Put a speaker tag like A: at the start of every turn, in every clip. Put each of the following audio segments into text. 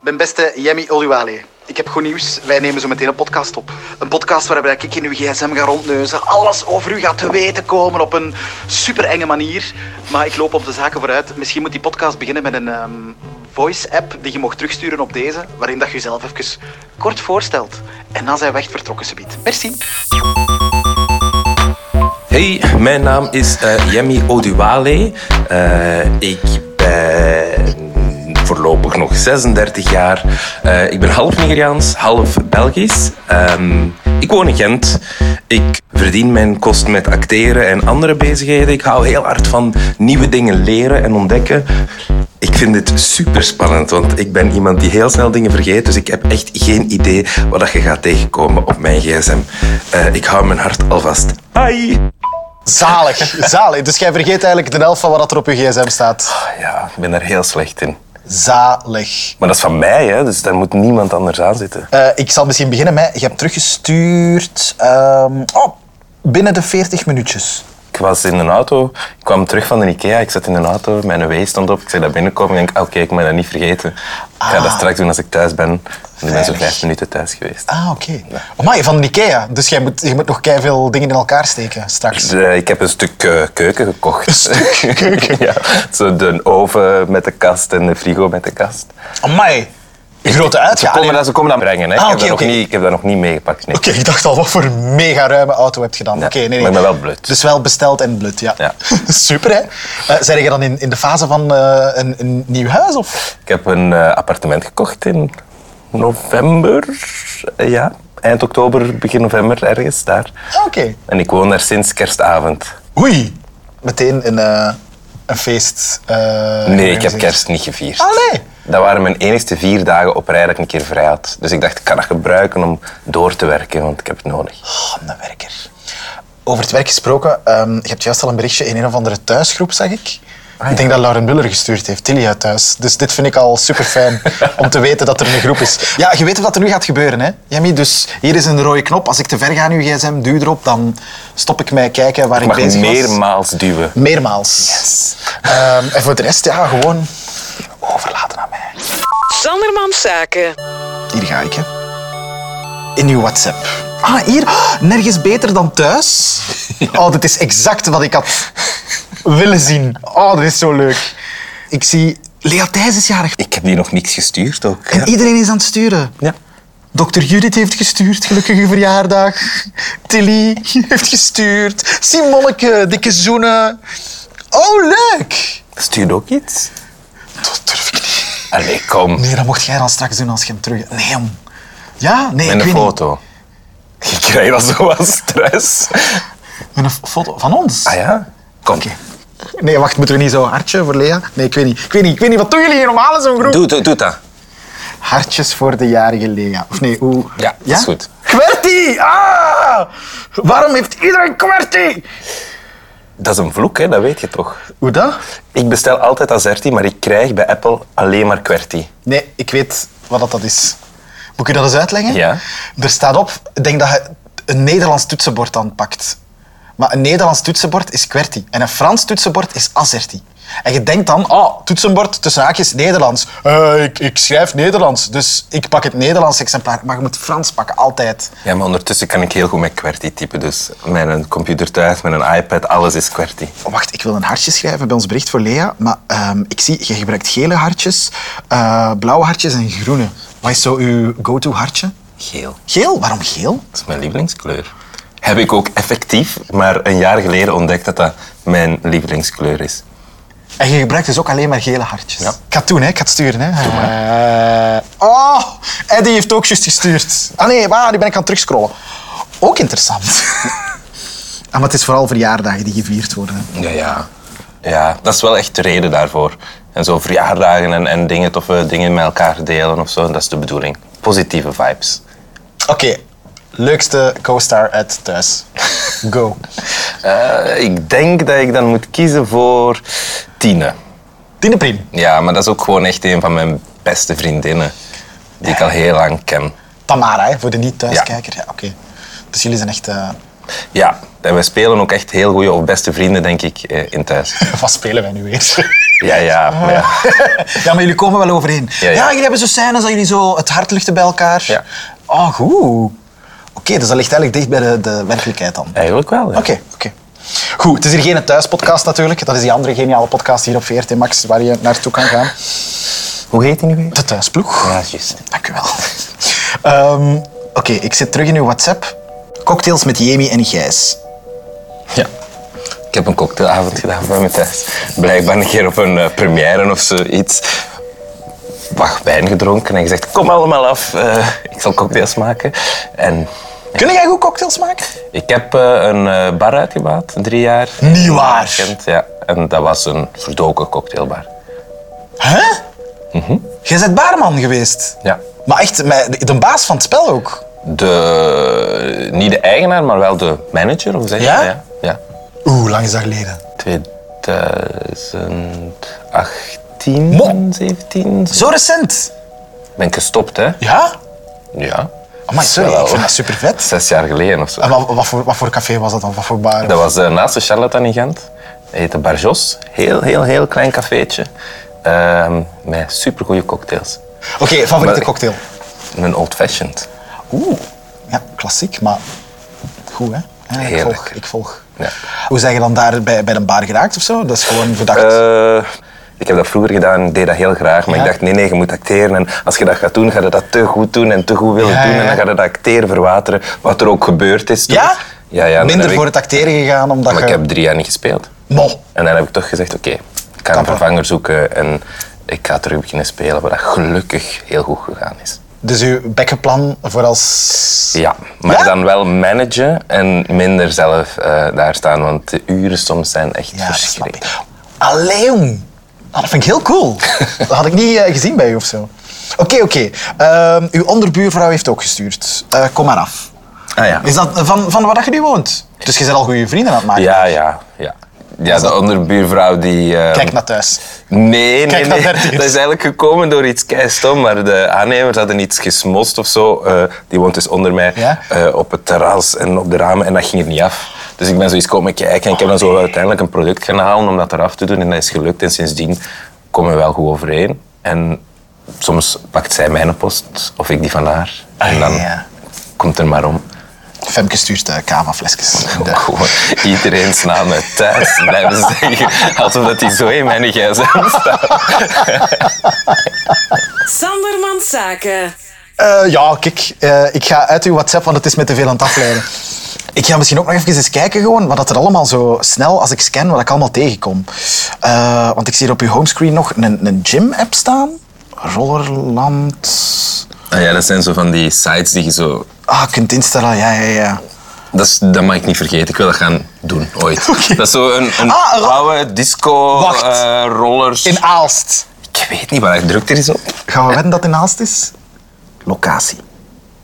A: Mijn beste Jemmy Oluwale. Ik heb goed nieuws. Wij nemen zo meteen een podcast op. Een podcast waarbij ik in uw gsm ga rondneuzen. Alles over u gaat te weten komen op een super enge manier. Maar ik loop op de zaken vooruit. Misschien moet die podcast beginnen met een ehm, voice-app die je mocht terugsturen op deze. Waarin dat je jezelf even kort voorstelt. En dan zijn we echt vertrokken, subiet. Merci.
B: Hey, mijn naam is eh Yemi Oduwale. Eh, ik ben voorlopig nog 36 jaar. Eh, ik ben half Nigeriaans, half Belgisch. Ehm, ik woon in Gent. Ik verdien mijn kost met acteren en andere bezigheden. Ik hou heel hard van nieuwe dingen leren en ontdekken. Ik vind dit super spannend, want ik ben iemand die heel snel dingen vergeet. Dus ik heb echt geen idee wat dat je gaat tegenkomen op mijn gsm. Eh, ik hou mijn hart alvast. Bye!
C: Zalig, zalig. Dus jij vergeet eigenlijk de helft van wat er op je gsm staat.
B: Ja, ik ben er heel slecht in.
C: Zalig.
B: Maar dat is van mij, hè? dus daar moet niemand anders aan zitten.
C: Eh, ik zal misschien beginnen met... Je hebt teruggestuurd... ehm, oh, binnen de 40 minuutjes.
B: Ik was in een auto, ik kwam terug van de IKEA, ik zat in een auto, mijn W stond op, ik zei dat binnenkomen en ik denk, ah, oké, ik moet dat niet vergeten. Ik ga dat straks doen als ik thuis ben. En ik ben zo
C: Ah. Veilig.
B: vijf minuten thuis geweest.
C: Ah, oké. Amai, van de Ikea. Dus jij moet, je moet nog veel dingen in elkaar steken straks.
B: Dus, eh, ik heb een stuk eh, keuken gekocht. Een
C: stuk keuken?
B: ja, zo de oven met de kast en de frigo met de kast.
C: Amai. Een grote
B: Ze
C: uitgave.
B: komen,
C: Oké,
B: dat, ze komen dat brengen, hè?
C: Ah,
B: ik, heb
C: oké,
B: dat nog
C: oké.
B: niet, ik heb dat nog niet meegepakt. Nee.
C: ik dacht al, wat voor een mega ruime auto heb je dan? Oké, nee, nee.
B: maar ik ben wel blut.
C: Dus wel besteld en blut, ja.
B: Ja.
C: Super, hè? Eh, zijn je dan in, in de fase van eh, een, een nieuw huis? Of?
B: Ik heb een eh, appartement gekocht in november. Eh, ja, eind oktober, begin november ergens daar.
C: Ah, Oké.
B: En ik woon daar sinds kerstavond.
C: Oei. Meteen een, eh, een feest. eh,
B: Nee, ik heb
C: gezien.
B: kerst niet gevierd.
C: Ah, nee?
B: Dat waren mijn enigste vier dagen op rij dat ik een keer vrij had. Dus ik dacht, ik kan dat gebruiken om door te werken, want ik heb het nodig.
C: Oh, een werker. Over het werk gesproken, ehm, je hebt juist al een berichtje in een of andere thuisgroep, zag ik.
B: Ah, ja.
C: Ik denk dat Lauren Muller gestuurd heeft, Tilly uit thuis. Dus dit vind ik al super fijn om te weten dat er een groep is. Ja, je weet wat er nu gaat gebeuren, hè, Jemmy? Dus hier is een rode knop. Als ik te ver ga nu gsm, duw erop, dan stop ik mij kijken waar
B: Ik
C: ik
B: mag
C: bezig was.
B: meermaals duwen.
C: Meermaals. Ehm, en voor de rest, ja, gewoon overlaten aan mij.
D: Sandermans Zaken.
C: Hier ga ik, hè. In uw WhatsApp. Ah, hier. Oh, nergens beter dan thuis. Oh, dit is exact wat ik had willen zien. Oh, dit is zo leuk. Ik zie... Lea Thijs is jarig.
B: Ik heb die nog niks gestuurd ook.
C: En iedereen is aan het sturen.
B: Ja.
C: Dr. Judith heeft gestuurd, gelukkige verjaardag. Tilly heeft gestuurd. Simonneke, dikke zoenen. Oh, leuk.
B: Stuur ook iets?
C: Dat durf ik niet.
B: Allee, kom.
C: Nee, dat mocht jij dan straks doen als je hem terug... Nee, jong. Ja? Nee,
B: Met
C: ik
B: een
C: weet niet.
B: foto. Ik krijg al zo wat stress.
C: Met een foto van ons?
B: Ah ja? Kom.
C: Oké. Nee, wacht, moeten we niet zo hartje voor Lea? Nee, ik weet niet. Ik weet niet, ik weet niet. Wat doen jullie hier normaal in zo'n groep?
B: Doe, doe, doe dat.
C: Hartjes voor de jarige Lea. Of nee, hoe?
B: Ja, dat is goed.
C: QWERTY! Ah! Waarom heeft iedereen QWERTY?
B: Dat is een vloek, hè? dat weet je toch?
C: Hoe dat?
B: Ik bestel altijd azerti, maar ik krijg bij Apple alleen maar QWERTY.
C: Nee, ik weet wat dat, dat is. Moet ik je dat eens uitleggen?
B: Ja.
C: Er staat op, ik denk dat je een Nederlands toetsenbord aanpakt. Maar een Nederlands toetsenbord is QWERTY en een Frans toetsenbord is AZERTY. En je denkt dan, oh, toetsenbord tussen haakjes Nederlands. Eh, ik, ik schrijf Nederlands, dus ik pak het Nederlands exemplaar. Maar je moet Frans pakken, altijd.
B: Ja, maar ondertussen kan ik heel goed met QWERTY typen. Dus mijn computer thuis, met een iPad, alles is QWERTY.
C: Oh, Wacht, ik wil een hartje schrijven bij ons bericht voor Lea. Maar ehm, ik zie, je gebruikt gele hartjes, eh, blauwe hartjes en groene. Wat is zo uw go-to hartje?
B: Geel.
C: Geel? Waarom geel?
B: Dat is mijn lievelingskleur. Heb ik ook effectief maar een jaar geleden ontdekt dat dat mijn lievelingskleur is.
C: En je gebruikt dus ook alleen maar gele hartjes.
B: Ja.
C: Ik ga het doen, hè. ik ga het sturen. Hè. Eh, oh, Eddie heeft ook juist gestuurd. Ah nee, waar, die ben ik aan het terugscrollen. Ook interessant. ah, maar het is vooral verjaardagen die gevierd worden.
B: Ja, ja. Ja, dat is wel echt de reden daarvoor. En zo verjaardagen en, en dingen, toffe dingen met elkaar delen of zo, dat is de bedoeling. Positieve vibes.
C: Oké, leukste co-star uit thuis. Go.
B: Eh, ik denk dat ik dan moet kiezen voor Tine.
C: Tine Prim,
B: Ja, maar dat is ook gewoon echt een van mijn beste vriendinnen. Die ik al heel lang ken.
C: Tamara, hè, voor de niet-thuiskijker. Ja. oké. Dus jullie zijn echt eh,
B: Ja, en wij spelen ook echt heel goede of beste vrienden, denk ik, eh, in thuis.
C: Wat spelen wij nu weer?
B: Ja, ja, maar ja.
C: Ja, maar jullie komen wel overeen. Ja,
B: ja.
C: jullie hebben zo scènes dat jullie zo het hart luchten bij elkaar.
B: Ja.
C: Oh, goed. Oké, dus dat ligt eigenlijk dicht bij de, de werkelijkheid dan. Oké,
B: Eigenlijk wel, ja.
C: oké. Goed, het is hier geen thuispodcast natuurlijk. Dat is die andere geniale podcast hier op VRT Max waar je naartoe kan gaan.
B: Hoe heet die nu weer?
C: De thuisploeg.
B: Ja, Ah, juist.
C: Dank u wel. Ehm, Oké, ik zit terug in uw WhatsApp. Cocktails met Jemi en Gijs.
B: Ja. Ik heb een cocktailavond gedaan bij mijn thuis. Blijkbaar een keer op een eh, première of zoiets. Wacht, wijn gedronken en gezegd, kom allemaal af, eh, ik zal cocktails maken. En
C: Kun jij goed cocktails maken?
B: ik heb eh, een eh, bar uitgebouwd, drie jaar.
C: Niet waar.
B: Kent, ja. En dat was een verdoken cocktailbar.
C: Hè? Jij bent barman geweest.
B: Mhm. Ja.
C: Maar echt, met- de baas van het spel ook.
B: De, niet de eigenaar, maar wel de manager, of zeg je?
C: Ja?
B: Ja. ja.
C: Oeh, hoe lang is dat geleden?
B: 2018,
C: Mo.
B: 17.
C: Zo recent?
B: Ben ik gestopt, hè?
C: Ja?
B: Ja.
C: Amai, Oh sorry,
B: Wel,
C: ik vind dat Ah. super vet.
B: Zes jaar geleden of zo.
C: En wat, wat, voor, wat voor café was dat dan? Wat voor bar?
B: Dat was eh, naast de Charlatan in Gent. Het heette Barjos. Heel, heel, heel klein cafeetje. Ehm, met supergoeie cocktails.
C: Oké, favoriete
B: Maar-
C: cocktail.
B: Een old fashioned.
C: Oeh, ja, klassiek, maar goed hè? Ja, ik
B: Heerlijk.
C: volg. Ik volg.
B: Ja.
C: Hoe zijn je dan daar bij, bij een bar geraakt of zo? Dat is gewoon verdacht.
B: Eh, ik heb dat vroeger gedaan, ik deed dat heel graag. Maar
C: Ja.
B: ik dacht, nee, nee, je moet acteren. En als je dat gaat doen, ga je dat te goed doen en te goed willen
C: Ja,
B: doen.
C: ja,
B: En dan
C: ja.
B: ga je dat acteren verwateren, wat er ook gebeurd is. toen.
C: ja?
B: Ja, ja. dan
C: Minder
B: heb
C: voor
B: ik,
C: het acteren gegaan omdat
B: Maar
C: je...
B: ik heb drie jaar niet gespeeld.
C: Mo.
B: En dan heb ik toch gezegd, oké, ik ga een
C: Kappen.
B: vervanger zoeken. En ik ga terug beginnen spelen, wat dat gelukkig heel goed gegaan is.
C: Dus uw bekkenplan voor als...
B: Ja, maar
C: Ja?
B: dan wel managen en minder zelf eh, daar staan, want de uren soms zijn echt
C: Ja, dat snap
B: verschrikkelijk.
C: ik. Allee, jong. Ah, dat vind ik heel cool. dat had ik niet eh, gezien bij u of zo. Oké, oké. Ehm, uw onderbuurvrouw heeft ook gestuurd. Eh, kom maar af.
B: Ah ja.
C: Is dat van, van waar dat je nu woont? Dus je bent al goede vrienden aan het maken.
B: Ja, ja, ja. Ja, de onderbuurvrouw die... eh,
C: Kijk naar thuis.
B: Nee, nee,
C: Kijk naar
B: nee. Dat
C: dertigers.
B: is eigenlijk gekomen door iets keistom, maar de aannemers hadden iets gesmost of zo. Eh, die woont dus onder mij
C: Ja?
B: eh, op het terras en op de ramen en dat ging er niet af. Dus ik ben zoiets komen kijken en ik heb dan zo uiteindelijk een product gaan halen om dat eraf te doen en dat is gelukt. En sindsdien komen we wel goed overeen. En soms pakt zij mijn post of ik die van haar. En dan
C: Ah, ja.
B: komt er maar om.
C: Femke stuurt eh kava-flesjes.
B: Ook gewoon iedereen's naam uit thuis blijven zeggen. Alsof dat die zo in mijn gsm staat.
D: Sandermans Zaken.
C: Eh, ja, kijk. eh, ik ga uit uw WhatsApp, want het is me te veel aan het afleiden. Ik ga misschien ook nog even eens kijken gewoon, wat dat er allemaal zo snel, als ik scan, wat ik allemaal tegenkom. Eh, want ik zie hier op uw homescreen nog een, een gym-app staan. Rollerland...
B: Ah ja, dat zijn zo van die sites die je zo...
C: Ah, je kunt instellen, ja, ja, ja.
B: Dat, is, dat mag ik niet vergeten. Ik wil dat gaan doen, ooit.
C: Oké.
B: Dat is zo een, een
C: Ah, een ro-
B: oude disco,
C: Wacht.
B: eh, rollers...
C: In Aalst.
B: Ik weet niet waar hij drukt er is op.
C: Gaan we wedden dat in Aalst is? Locatie.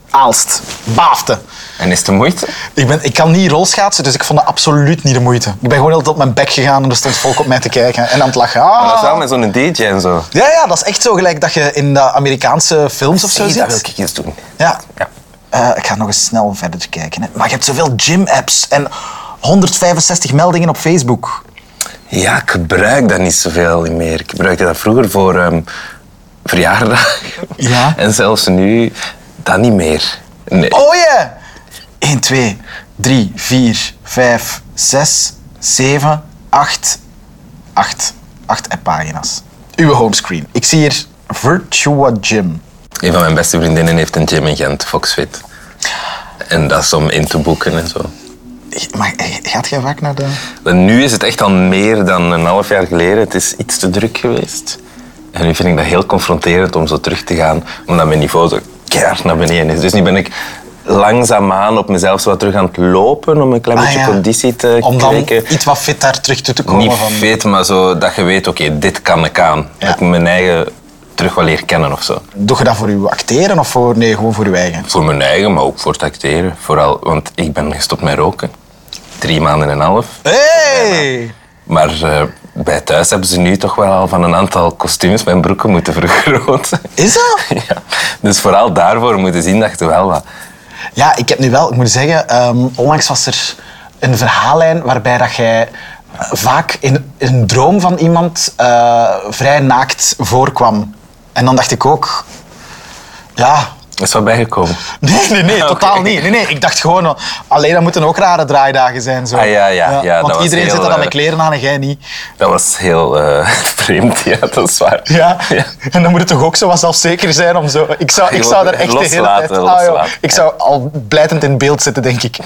C: Aalst. Baafte.
B: En is het de moeite?
C: Ik, ben, ik kan niet rolschaatsen, dus ik vond dat absoluut niet de moeite. Ik ben gewoon heel op mijn bek gegaan en er stond volk op mij te kijken en aan het lachen. Ah.
B: Maar dat is wel met zo'n DJ en zo.
C: Ja, ja, dat is echt zo gelijk dat je in de Amerikaanse films of zo
B: Zie, dat wil
C: zit.
B: ik eens doen.
C: Ja.
B: Ja.
C: Eh, ik ga nog eens snel verder kijken. Hè. Maar je hebt zoveel gym-apps en 165 meldingen op Facebook.
B: Ja, ik gebruik dat niet zoveel meer. Ik gebruikte dat vroeger voor ehm verjaardagen.
C: Ja.
B: En zelfs nu, dat niet meer. Nee.
C: Oh ja! 1, 2, 3, 4, 5, 6, 7, 8. 8. 8 apppagina's. Uw homescreen. Ik zie hier Virtua Gym.
B: Een van mijn beste vriendinnen heeft een gym in Gent, Foxfit. En dat is om in te boeken en zo.
C: Maar eh, gaat jij vaak naar de...
B: En nu is het echt al meer dan een half jaar geleden. Het is iets te druk geweest. En nu vind ik dat heel confronterend om zo terug te gaan, omdat mijn niveau zo keihard naar beneden is. Dus nu ben ik langzaamaan op mezelf zo wat terug aan het lopen om een klein beetje
C: Ah, ja.
B: conditie te
C: Om dan
B: kweken.
C: iets wat fit daar terug toe te komen.
B: Niet
C: van...
B: fit, maar zo dat je weet, oké, dit kan ik aan.
C: Ja.
B: Dat ik mijn eigen terug wel leer kennen of zo.
C: Doe je dat voor uw acteren of voor... Nee, gewoon voor uw eigen.
B: Voor mijn eigen, maar ook voor het acteren. Vooral, want ik ben gestopt met roken. Drie maanden en een half.
C: Hey!
B: Maar eh, bij thuis hebben ze nu toch wel al van een aantal kostuums mijn broeken moeten vergroten.
C: Is dat?
B: ja. Dus vooral daarvoor moeten zien dat je wel wat
C: Ja, ik heb nu wel, ik moet zeggen, ehm, onlangs was er een verhaallijn waarbij dat jij eh, vaak in een droom van iemand eh, vrij naakt voorkwam. En dan dacht ik ook, ja,
B: Dat is wel bijgekomen.
C: Nee, nee, nee, totaal niet. Nee, nee, ik dacht gewoon, alleen dat moeten ook rare draaidagen zijn. Zo.
B: Ah, ja, ja, ja, dat
C: want
B: was
C: iedereen
B: heel,
C: zit er dan
B: eh,
C: met kleren aan en jij niet.
B: Dat was heel eh, vreemd, ja, dat is waar.
C: Ja. en dan moet het toch ook zo wat zelfzeker zijn om zo... Ik zou, ik
B: Gewoon
C: zou daar echt de hele
B: loslaten,
C: tijd... Ah, joh,
B: loslaten. Hmm.
C: ik zou al blijtend in beeld zitten, denk ik.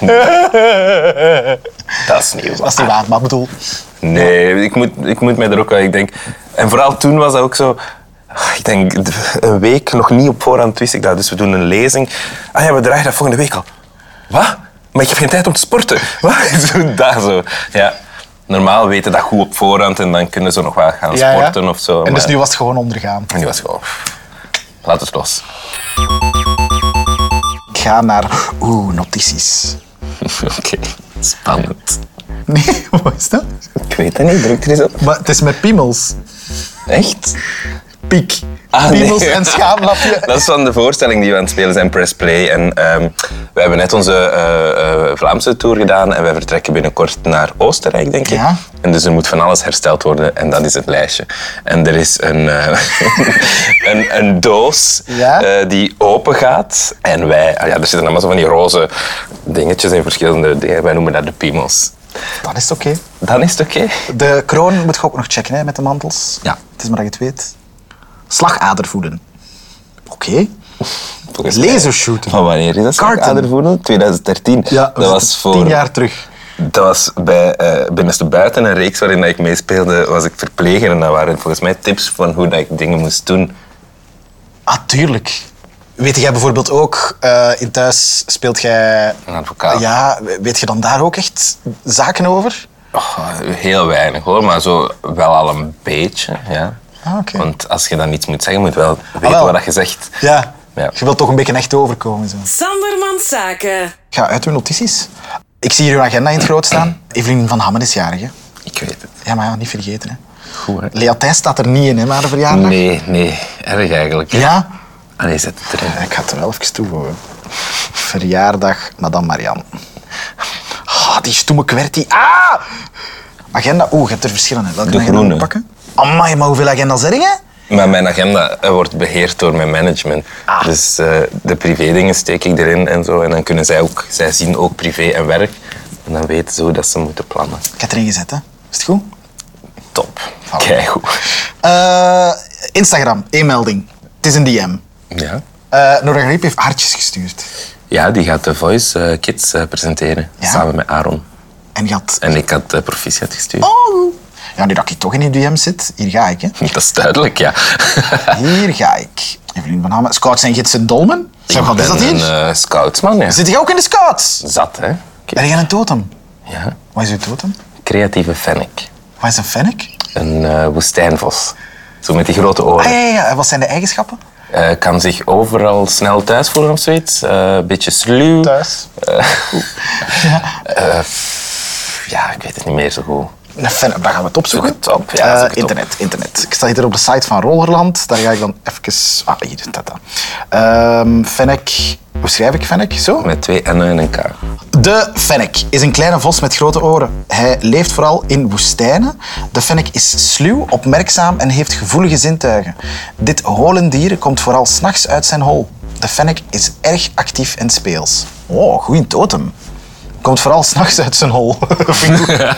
B: Dat is niet waar.
C: Dat is niet waar, maar ik bedoel...
B: Nee, ik moet, ik moet mij er ook wel. Ik denk, en vooral toen was dat ook zo. ah, Ik denk een week nog niet op voorhand wist ik dat. Dus we doen een lezing. Ah ja, we draaien dat volgende week al. Wat? Maar ik heb geen tijd om te sporten. Wat? Zo, dat zo. Ja. Normaal weten dat goed op voorhand en dan kunnen ze nog wel gaan
C: Ja, ja.
B: sporten of zo.
C: En dus
B: maar-
C: nu was het gewoon ondergaan.
B: En die was gewoon. pff, Laat het los.
C: Ik ga naar... Oeh, notities.
B: Oké, spannend.
C: Nee, wat is dat?
B: Ik weet het niet, druk er eens op.
C: Maar het is met piemels.
B: Echt?
C: Piek.
B: Ah, nee.
C: piemels en schaamlapje.
B: Dat is van de voorstelling die we aan het spelen zijn, Press Play. En ehm, we hebben net onze eh, eh, Vlaamse tour gedaan en wij vertrekken binnenkort naar Oostenrijk, denk ik.
C: Ja.
B: En dus er moet van alles hersteld worden en dat is het lijstje. En er is een, eh, een, een doos
C: Ja.
B: eh, die open gaat. En wij, ah ja, er zitten allemaal zo van die roze dingetjes in verschillende dingen. Wij noemen dat de piemels.
C: Dan is het oké.
B: Dan is het oké.
C: De kroon moet je ook nog checken hè, met de mantels.
B: Ja.
C: Het is maar dat je het weet. Slagader voeden. Oké.
B: Volgens mij-
C: Lasershooter.
B: Van wanneer is dat? ah,
C: Carton.
B: Adervoeren? 2013.
C: Ja,
B: dat was voor
C: tien jaar terug.
B: Dat was bij eh Binnenste Buiten, een reeks waarin dat ik meespeelde, was ik verpleger. En dat waren volgens mij tips van hoe dat ik dingen moest doen.
C: Ah, tuurlijk. Weet jij bijvoorbeeld ook, eh, in thuis speelt jij...
B: Een advocaat.
C: Ja, weet je dan daar ook echt zaken over?
B: Oh, heel weinig hoor, maar zo wel al een beetje. Ja.
C: Ah, oké. Ah,
B: Want als je dan iets moet zeggen, moet je wel weten
C: wel.
B: wat dat je zegt.
C: Ja.
B: Ja.
C: Je wilt toch een beetje echt overkomen. Zo.
D: Sandermans Zaken.
C: Ik ga uit uw notities. Ik zie hier uw agenda in het groot staan. Evelien van Hammen is jarig. hè?
B: Ik weet het.
C: Ja, maar ja, niet vergeten. Hè.
B: Goed hè?
C: Lea Thijs staat er niet in, hè, maar de verjaardag.
B: Nee, nee. Erg eigenlijk.
C: Ja?
B: Allee, zet het erin.
C: Ja, Ik ga het er wel even toevoegen. Verjaardag, madame Marianne. Ah, die stomme kwertie. Ah! Agenda. Oeh, je hebt er verschillende. Welke
B: De
C: agenda moet ik
B: groene.
C: pakken? Amai, maar hoeveel agendas heb je?
B: Maar mijn agenda eh, wordt beheerd door mijn management.
C: Ah.
B: Dus eh, de privédingen steek ik erin en zo. En dan kunnen zij ook, zij zien ook privé en werk. En dan weten ze hoe dat ze moeten plannen.
C: Ik heb erin gezet, hè. Is het goed?
B: Top. Kijk goed.
C: Eh, Instagram, e-melding. Het is een DM.
B: Ja.
C: Eh Nora Griep heeft hartjes gestuurd.
B: ja, die gaat de Voice eh, Kids eh, presenteren.
C: Ja?
B: Samen met Aaron.
C: En gaat...
B: En ik had eh, proficiat gestuurd.
C: Oh! Ja, nu dat ik toch in die DM zit, hier ga ik, hè.
B: Dat is duidelijk, ja.
C: Hier ga ik. Evelien van Hamen. Scouts en gidsen Dolmen. Zeg, wat is dat
B: ben
C: hier?
B: een eh, scoutsman, ja.
C: Zit Eh. je ook in de scouts?
B: Zat, hè. Oké.
C: Ben jij een totem?
B: Ja.
C: Wat is uw totem?
B: Creatieve fennec.
C: Wat is een fennec?
B: Een eh, woestijnvos. Zo met die grote oren.
C: Ah, ja, ja, ja. En Wat zijn de eigenschappen?
B: Eh, kan zich overal snel thuis voelen of zoiets. Eh, Een beetje sluw.
C: Thuis.
B: Ja, ik weet het niet meer zo goed.
C: Een fennec, daar gaan we het opzoeken.
B: Zoek het op, ja,
C: Eh,
B: zoek het op.
C: internet, internet. Ik sta hier op de site van Rollerland. Daar ga ik dan even... Ah, hier, tata. Ehm fennec... Hoe schrijf ik fennec? Zo?
B: Met twee N'en en een K.
C: De fennec is een kleine vos met grote oren. Hij leeft vooral in woestijnen. De fennec is sluw, opmerkzaam en heeft gevoelige zintuigen. Dit holendier komt vooral s'nachts uit zijn hol. De fennec is erg actief en speels. Oh, goeie totem. Komt vooral s'nachts uit zijn hol. Vind ik goed.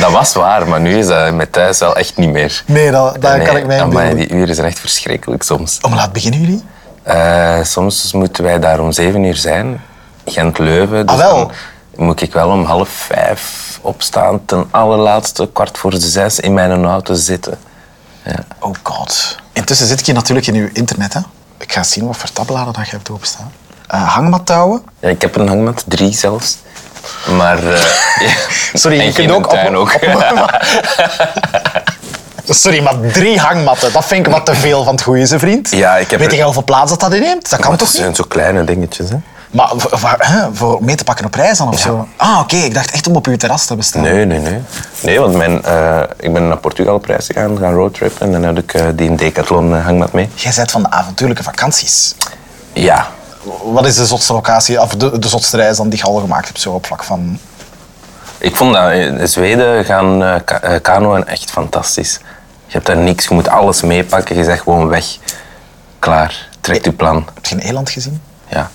B: Dat was waar, maar nu is dat met thuis wel echt niet meer.
C: nee, dat, dat kan ik
B: amai,
C: mij inbeelden. Oh.
B: Die uren zijn echt verschrikkelijk soms.
C: Om laat beginnen jullie?
B: Eh, soms moeten wij daar om zeven uur zijn. Gent-Leuven. Dus
C: Ah, wel.
B: Dan moet ik wel om half vijf opstaan. Ten allerlaatste kwart voor zes in mijn auto zitten.
C: Oh god. Intussen zit ik hier natuurlijk in uw internet. Hè? Ik ga zien wat voor tabbladen dat je hebt openstaan. Eh hangmattouwen.
B: Ja, ik heb een hangmat, drie zelfs. Maar... eh, ja.
C: Sorry,
B: En
C: je
B: geen
C: kunt ook op-
B: tuin ook.
C: Sorry, maar drie hangmatten, dat vind ik wat te veel van het goede, ze vriend.
B: Ja, ik heb
C: Weet
B: er-
C: je hoeveel plaats dat dat inneemt? Dat kan
B: Maar
C: toch
B: Het
C: niet?
B: zijn zo kleine dingetjes, hè?
C: Maar voor, voor- hè, voor mee te pakken op reis dan of zo? Ah, oké, ik dacht echt om op uw terras te bestaan.
B: Nee, nee, nee. Nee, want mijn, eh, ik ben naar Portugal op reis gegaan, gaan roadtrippen. En dan had ik eh, die Decathlon eh, hangmat mee.
C: Jij bent van de avontuurlijke vakanties.
B: Ja,
C: Wat is de zotste locatie, of de, de zotste reis dan die je al gemaakt hebt, zo op vlak van...
B: Ik vond dat in Zweden gaan eh, ka- eh, kanoën echt fantastisch. Je hebt daar niks, je moet alles meepakken. Je zegt gewoon weg. Klaar, trekt je plan.
C: Heb je een eland gezien?
B: Ja.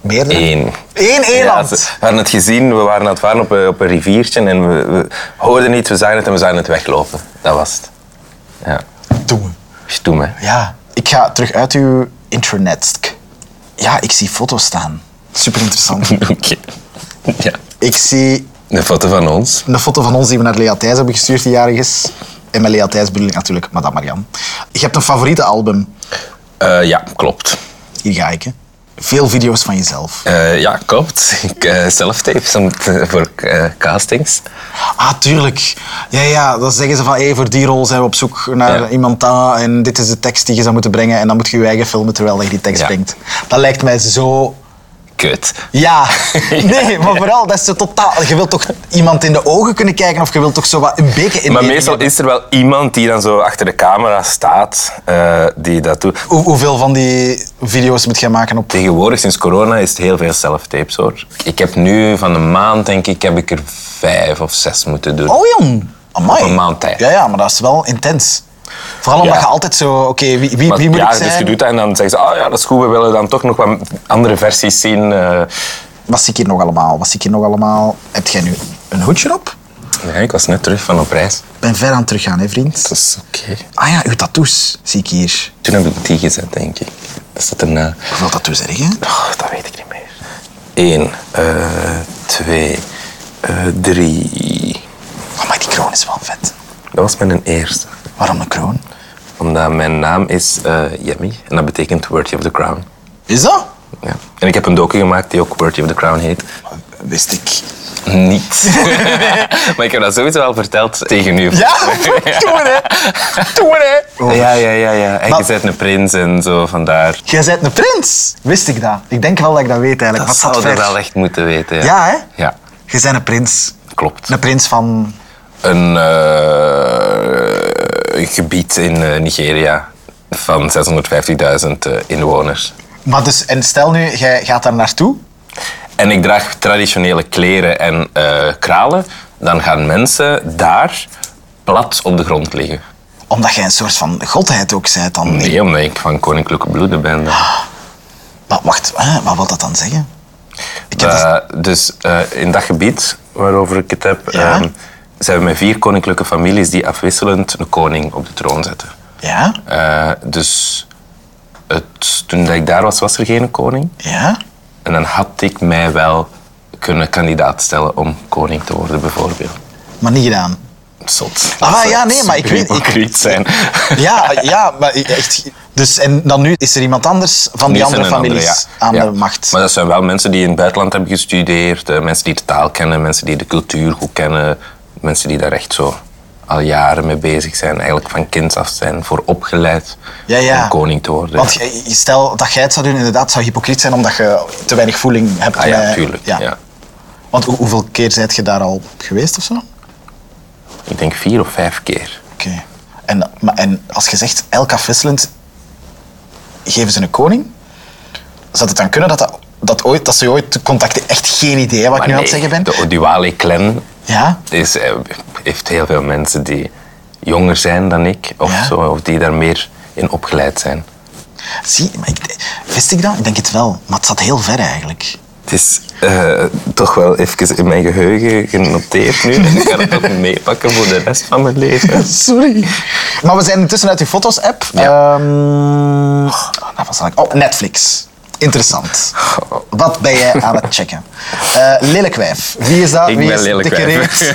C: Meerdere?
B: Eén.
C: Eén
B: Ja,
C: eland!
B: ze- we hadden het gezien, we waren aan het varen op een, op een riviertje en we, we hoorden iets, we zagen het en we zagen het weglopen. Dat was het. Ja,
C: Doen we.
B: stoem hè.
C: Ja, ik ga terug uit uw intranet. Ja, ik zie foto's staan. Super interessant.
B: Oké. Ja.
C: ik zie
B: Een foto van ons.
C: een foto van ons die we naar Lea Thijs hebben gestuurd die jarig is. En met Lea Thijs bedoel ik natuurlijk Madame Marianne. Je hebt een favoriete album.
B: Eh, ja, klopt.
C: Hier ga ik, hè. Veel video's van jezelf.
B: Eh, ja, klopt. Ik eh zelf tapes om te- voor eh, castings.
C: Ah, tuurlijk. Ja, ja, dan zeggen ze van, hé, voor die rol zijn we op zoek naar
B: Ja.
C: iemand daar en dit is de tekst die je zou moeten brengen en dan moet je je eigen filmen terwijl je die tekst
B: Ja.
C: brengt. Dat lijkt mij zo
B: Kut.
C: Ja, nee, maar vooral dat is zo totaal. Je wilt toch iemand in de ogen kunnen kijken of je wilt toch zo wat een beetje
B: Maar
C: in mening
B: meestal
C: hebben?
B: is er wel iemand die dan zo achter de camera staat eh, die dat doet.
C: Hoe- hoeveel van die video's moet jij maken op?
B: Tegenwoordig, sinds corona, is het heel veel self-tapes hoor. Ik heb nu van een maand, denk ik, heb ik er vijf of zes moeten doen.
C: Oh jong, amai.
B: Op een maand tijd.
C: Ja, ja, maar dat is wel intens. Vooral omdat
B: Ja.
C: je altijd zo, oké, wie, wie,
B: Maar
C: wie moet
B: ja,
C: ik zijn?
B: dus je doet dat en dan zeggen ze, ah ja, dat is goed, we willen dan toch nog wat andere versies zien. eh.
C: Wat zie ik hier nog allemaal? Wat zie ik hier nog allemaal? Heb jij nu een hoedje op?
B: Ja, ik was net terug van op reis.
C: Ik ben ver aan het teruggaan, hè, vriend.
B: Dat is oké.
C: Ah ja, uw tattoos zie ik hier.
B: Toen heb ik die gezet, denk ik. Dat staat erna.
C: Hoeveel tattoos heb je?
B: Oh, dat weet ik niet meer. Eén, eh, twee, eh, drie.
C: Oh, maar die kroon is wel vet.
B: Dat was mijn eerste.
C: Waarom een kroon?
B: Omdat mijn naam is eh Yemi en dat betekent Worthy of the Crown.
C: Is dat?
B: Ja. En ik heb een docu gemaakt die ook Worthy of the Crown heet.
C: Wist ik.
B: Niet. maar ik heb dat sowieso al verteld tegen u. Oh.
C: Ja, doe het, hè. Doe het, hè.
B: Ja, ja, ja, ja. En
C: Maar-
B: je bent een prins en zo, vandaar.
C: Jij bent een prins. Wist ik dat? Ik denk wel dat ik dat weet eigenlijk.
B: Dat
C: Wat staat
B: zou je
C: ver?
B: wel echt moeten weten. Ja,
C: Ja, hè?
B: Ja,
C: Jij bent een prins.
B: klopt.
C: Een prins van...
B: Een eh, gebied in eh, Nigeria van 650.000 eh, inwoners.
C: Maar dus, en stel nu, jij gaat daar naartoe.
B: En ik draag traditionele kleren en eh, kralen. Dan gaan mensen daar plat op de grond liggen.
C: Omdat jij een soort van godheid ook bent dan.
B: Nee, omdat ik van koninklijke bloeden ben. dan.
C: Maar wacht, hè, wat wil dat dan zeggen? Ik heb dat...
B: Eh, dus eh, in dat gebied waarover ik het heb,
C: Ja?
B: ehm, zijn we met vier koninklijke families die afwisselend een koning op de troon zetten.
C: Ja?
B: Eh, dus het, toen dat ik daar was, was er geen koning.
C: Ja?
B: En dan had ik mij wel kunnen kandidaat stellen om koning te worden, bijvoorbeeld.
C: Maar niet gedaan.
B: Zot.
C: Ah,
B: Dat zou
C: ja, nee, maar ik weet- ik-
B: superhypocriet zijn.
C: Ja, ja, maar echt. Dus, en dan nu is er iemand anders van die
B: Nu
C: andere
B: zijn een
C: families
B: ja.
C: aan
B: Ja.
C: de macht.
B: Maar dat zijn wel mensen die in het buitenland hebben gestudeerd, eh, mensen die de taal kennen, mensen die de cultuur goed kennen, mensen die daar echt zo al jaren mee bezig zijn, eigenlijk van kind af zijn, voor opgeleid
C: Ja, ja.
B: om koning te worden.
C: Want je- je- stel dat jij het zou doen, inderdaad, zou hypocriet zijn omdat je te weinig voeling hebt.
B: ah, ja,
C: bij-
B: tuurlijk.
C: eh, ja.
B: ja.
C: Want hoe- hoeveel keer zijt je daar al geweest of zo? Oké.
B: Ik denk vier of vijf keer.
C: En, maar- en als je zegt elk afwisselend geven ze een koning, zou het dan kunnen dat, dat, dat, ooit, dat ze ooit contacten? Echt geen idee wat ik nu aan het
B: nee,
C: zeggen ben.
B: De Oduale clan
C: Ja?
B: is, eh, heeft heel veel mensen die jonger zijn dan ik, of,
C: Ja?
B: zo, of die daar meer in opgeleid zijn.
C: Zie, maar ik, wist ik dat? Ik denk het wel, maar het zat heel ver eigenlijk.
B: Het is eh, toch wel even in mijn geheugen genoteerd nu. En ik ga het ook meepakken voor de rest van mijn leven.
C: Sorry. Maar we zijn intussen uit die foto's-app.
B: Ja.
C: Ehm, nou, wat zal ik... Oh, Netflix. Interessant. Wat ben jij aan het checken? Eh lelijk wijf. Wie is dat?
B: Ik
C: Wie
B: ben
C: is
B: lelijk
C: dikke
B: wijf.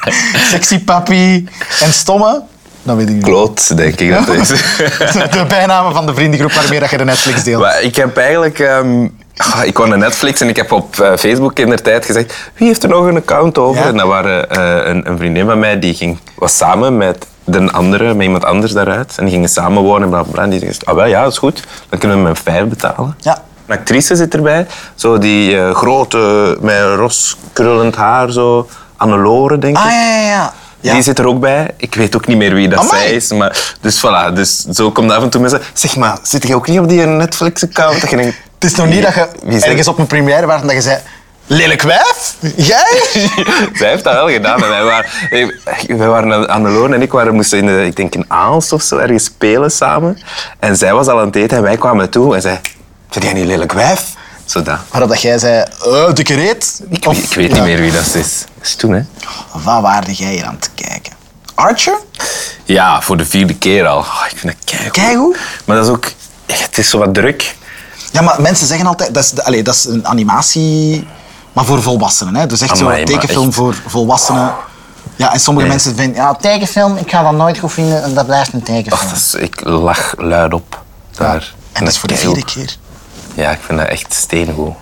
C: reet? Sexy papi. En stomme? Dat weet ik niet.
B: Kloot, denk ik dat is.
C: De bijnamen van de vriendengroep waarmee dat je de Netflix deelt.
B: Maar ik heb eigenlijk... ehm, ah, ik kwam naar Netflix en ik heb op eh, Facebook in der tijd gezegd... Wie heeft er nog een account over?
C: Ja.
B: En dat waren eh, een, een vriendin van mij die ging, was samen met de andere, met iemand anders daaruit. En die gingen samen wonen en bla bla. bla. En die zei, ah wel ja, dat is goed. Dan kunnen we mijn vijf betalen.
C: Ja.
B: Een actrice zit erbij, zo die eh, grote, met roskrullend haar, zo, Anneloren, denk ik.
C: Ah, ja, ja, ja. ja.
B: Die zit er ook bij. Ik weet ook niet meer wie dat
C: Amai.
B: zij is. Maar, dus voilà, dus zo komt af en toe mensen. Zeg maar, zit jij ook niet op die Netflix-account? Dat je denkt,
C: Het is nog niet dat je
B: Wie is er-
C: ergens op een première was en dat je zei... Lelijk wijf? Jij?
B: Zij heeft dat wel gedaan. En wij waren, wij waren aan- aan de loon en ik waren, moesten in, de, ik denk in Aalst of zo ergens spelen samen. En zij was al aan het eten en wij kwamen toe en zei... Vind jij niet lelijk wijf? Zo dat.
C: Waarop dat jij zei... eh dikke reet?
B: Ik, weet- ik weet niet meer wie dat is. Dat is toen, hè?
C: Wat waarde jij hier aan te kijken? Archer?
B: Ja, voor de vierde keer al. Oh, ik vind dat keigoed.
C: Keigoed?
B: Maar dat is ook... ja, Het is zo wat druk.
C: Ja, maar mensen zeggen altijd... Dat is, de- allee, dat is een animatie, maar voor volwassenen. Hè? Dus echt
B: Amai,
C: zo'n
B: maar
C: tekenfilm
B: echt.
C: voor volwassenen. Ja, en sommige mensen vinden... Ja, tekenfilm, ik ga dat nooit goed vinden. en Dat blijft een
B: Och,
C: tekenfilm.
B: dat is- ik lach luid op. Daar.
C: en dat is voor de vierde keer.
B: Ja, ik vind dat echt steengoed.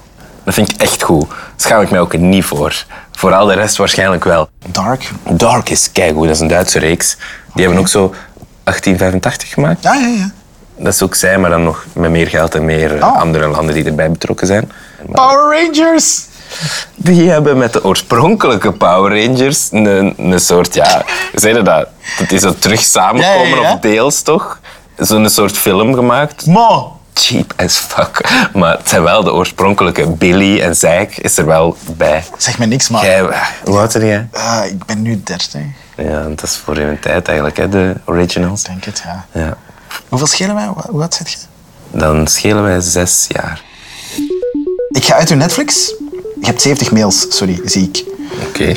B: Dat vind ik echt goed. Daar schaam ik mij ook niet voor. Vooral de rest waarschijnlijk wel.
C: Dark.
B: Dark is keigoed, dat is een Duitse reeks. Die hebben ook zo 1885 gemaakt.
C: Ja, ja, ja.
B: Dat is ook zij, maar dan nog met meer geld en meer eh,
C: Oh.
B: andere landen die erbij betrokken zijn. Maar
C: Power Rangers!
B: die hebben met de oorspronkelijke Power Rangers een, een soort, ja, zeg je dat? Dat is dat terug samenkomen
C: Ja, ja, ja.
B: of deels toch? Zo'n soort film gemaakt.
C: Ma!
B: Cheap as fuck. Maar het zijn wel de oorspronkelijke Billy en Zijk is er wel bij.
C: Zeg me niks, maar...
B: Jij, hoe oud ben jij?
C: eh, ik ben nu 30,
B: Ja, dat is voor hun tijd eigenlijk, hè, de originals.
C: denk het, ja.
B: Ja.
C: Hoeveel schelen wij? Hoe hoe oud zit je?
B: Dan schelen wij zes jaar.
C: Ik ga uit uw Netflix. Je hebt 70 mails, sorry, zie ik.
B: Oké.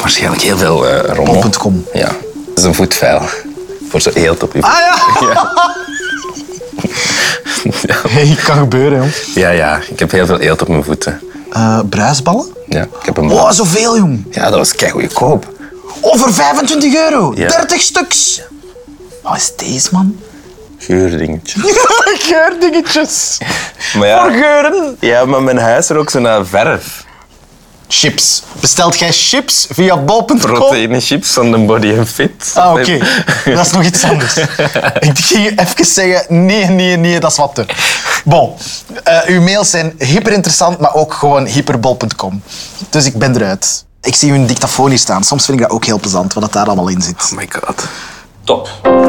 B: Waarschijnlijk heel veel eh rommel.
C: Bol.com.
B: Ja. Dat is een voetveil. Voor zo heel top.
C: Ah ja!
B: ja.
C: Hey, kan gebeuren, jong.
B: ja, ja. Ik heb heel veel eelt op mijn voeten.
C: Eh, bruisballen?
B: Ja, ik heb een
C: Wow,
B: blaas.
C: zoveel, jong.
B: Ja, dat was keigoed koop.
C: Over 25 euro.
B: Ja.
C: 30 stuks. Wat is deze, man?
B: Geurdingetje.
C: Geurdingetjes.
B: Maar
C: Voor
B: ja,
C: geuren.
B: ja, maar mijn huis er ook zo naar verf.
C: Chips. Bestelt jij chips via bol.com?
B: Proteïne chips van de Body and Fit. Oh
C: Ah, oké. Dat is nog iets anders. Ik ging even zeggen, nee, nee, nee, dat is wat te. Bon, Eh, uw mails zijn hyperinteressant, maar ook gewoon hyperbol.com. Dus ik ben eruit. Ik zie hun dictafoon hier staan. Soms vind ik dat ook heel plezant, wat dat daar allemaal in zit.
B: Oh my god.
E: Top.
F: Deze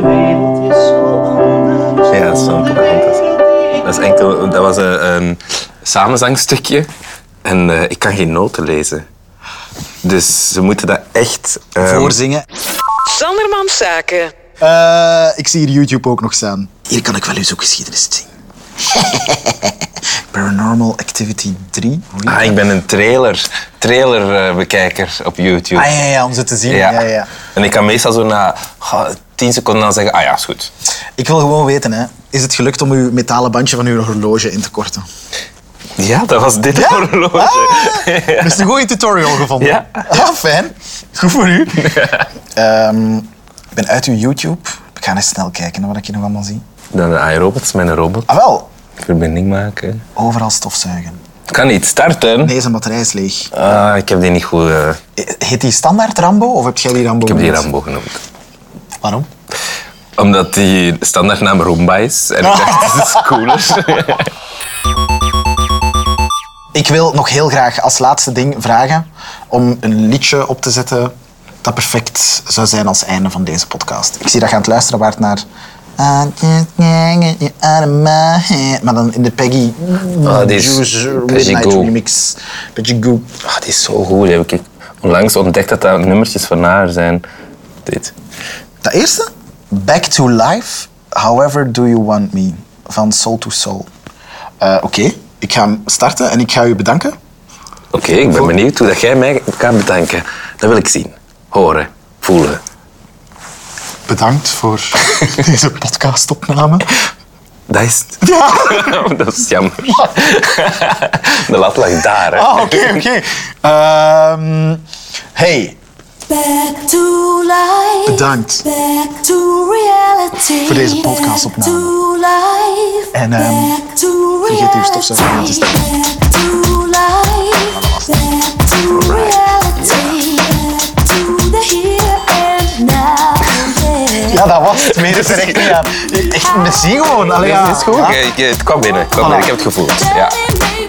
F: wereld is zo anders.
B: Ja, dat is zo'n
F: dan de
B: Pocahontas.
F: wereld die ik
B: Dat, is enkel, dat was een, een samenzangstukje. En eh, ik kan geen noten lezen. Dus ze moeten dat echt... ehm,
C: Voorzingen.
D: Sandermans Zaken.
C: Eh, ik zie hier YouTube ook nog staan. Hier kan ik wel uw zoekgeschiedenis zien. Paranormal Activity 3.
B: Ah, ik ben een trailer, trailerbekijker op YouTube.
C: Ah, ja, ja, om ze te zien. Ja. Ja, ja.
B: En ik kan meestal zo na goh, 10 seconden dan zeggen, ah ja, is goed.
C: Ik wil gewoon weten, hè. is het gelukt om uw metalen bandje van uw horloge in te korten?
B: Ja, Ah. dat was dit horloge.
C: Dat is Ah! Dus een goede tutorial gevonden.
B: Ja.
C: Ah, fijn. Goed voor u. Ehm, ik ben uit uw YouTube. Ik ga eens snel kijken naar wat ik hier nog allemaal zie.
B: Dan de iRobot, mijn robot.
C: Ah wel,
B: Verbinding maken.
C: overal stofzuigen.
B: Kan niet starten.
C: Nee, zijn batterij is leeg.
B: Ah, ik heb die niet goed... eh,
C: Heet die standaard Rambo of heb jij die Rambo?
B: ik heb die
C: genoemd?
B: Rambo genoemd.
C: Waarom?
B: Omdat die standaardnaam Roomba is. En ik dacht, dat is cooler.
C: Ik wil nog heel graag als laatste ding vragen om een liedje op te zetten dat perfect zou zijn als einde van deze podcast. Ik zie dat je aan het luisteren waart naar... I can't get you out of my head. Maar dan in de Peggy
B: Ah, die is
C: Juice
B: Peggy
C: Midnight
B: Goo.
C: Remix. Peggy Goo.
B: Ah, die is zo goed. Heb ik onlangs ontdekt dat dat nummertjes van haar zijn. Dit.
C: Dat eerste, Back to Life, However Do You Want Me, van Soul to Soul. Eh, Oké, ik ga hem starten en ik ga u bedanken.
B: Oké, ik ben benieuwd hoe dat jij mij kan bedanken. Dat wil ik zien. Horen. Voelen.
C: Bedankt voor deze podcastopname.
B: Dat is het.
C: Ja.
B: dat is jammer. De lat lag daar, hè.
C: Ah, oké, oké. Ehm, hey,
G: Back to life.
C: bedankt.
G: Back to reality.
C: Voor deze podcastopname.
G: Back to life.
C: En, ehm,
G: Back to
C: vergeet uw stofzuiger aan te
G: reality. Back to life. Back to reality. Back to the here and now. Yeah.
C: Ja, dat was het. Meer is er echt niet aan. Echt, merci gewoon. Allee, ja.
B: Dit is goed.
C: Ja.
B: Oké, ik- het kwam binnen. Het kwam binnen. Ik heb het gevoeld. Ja.
G: Baby,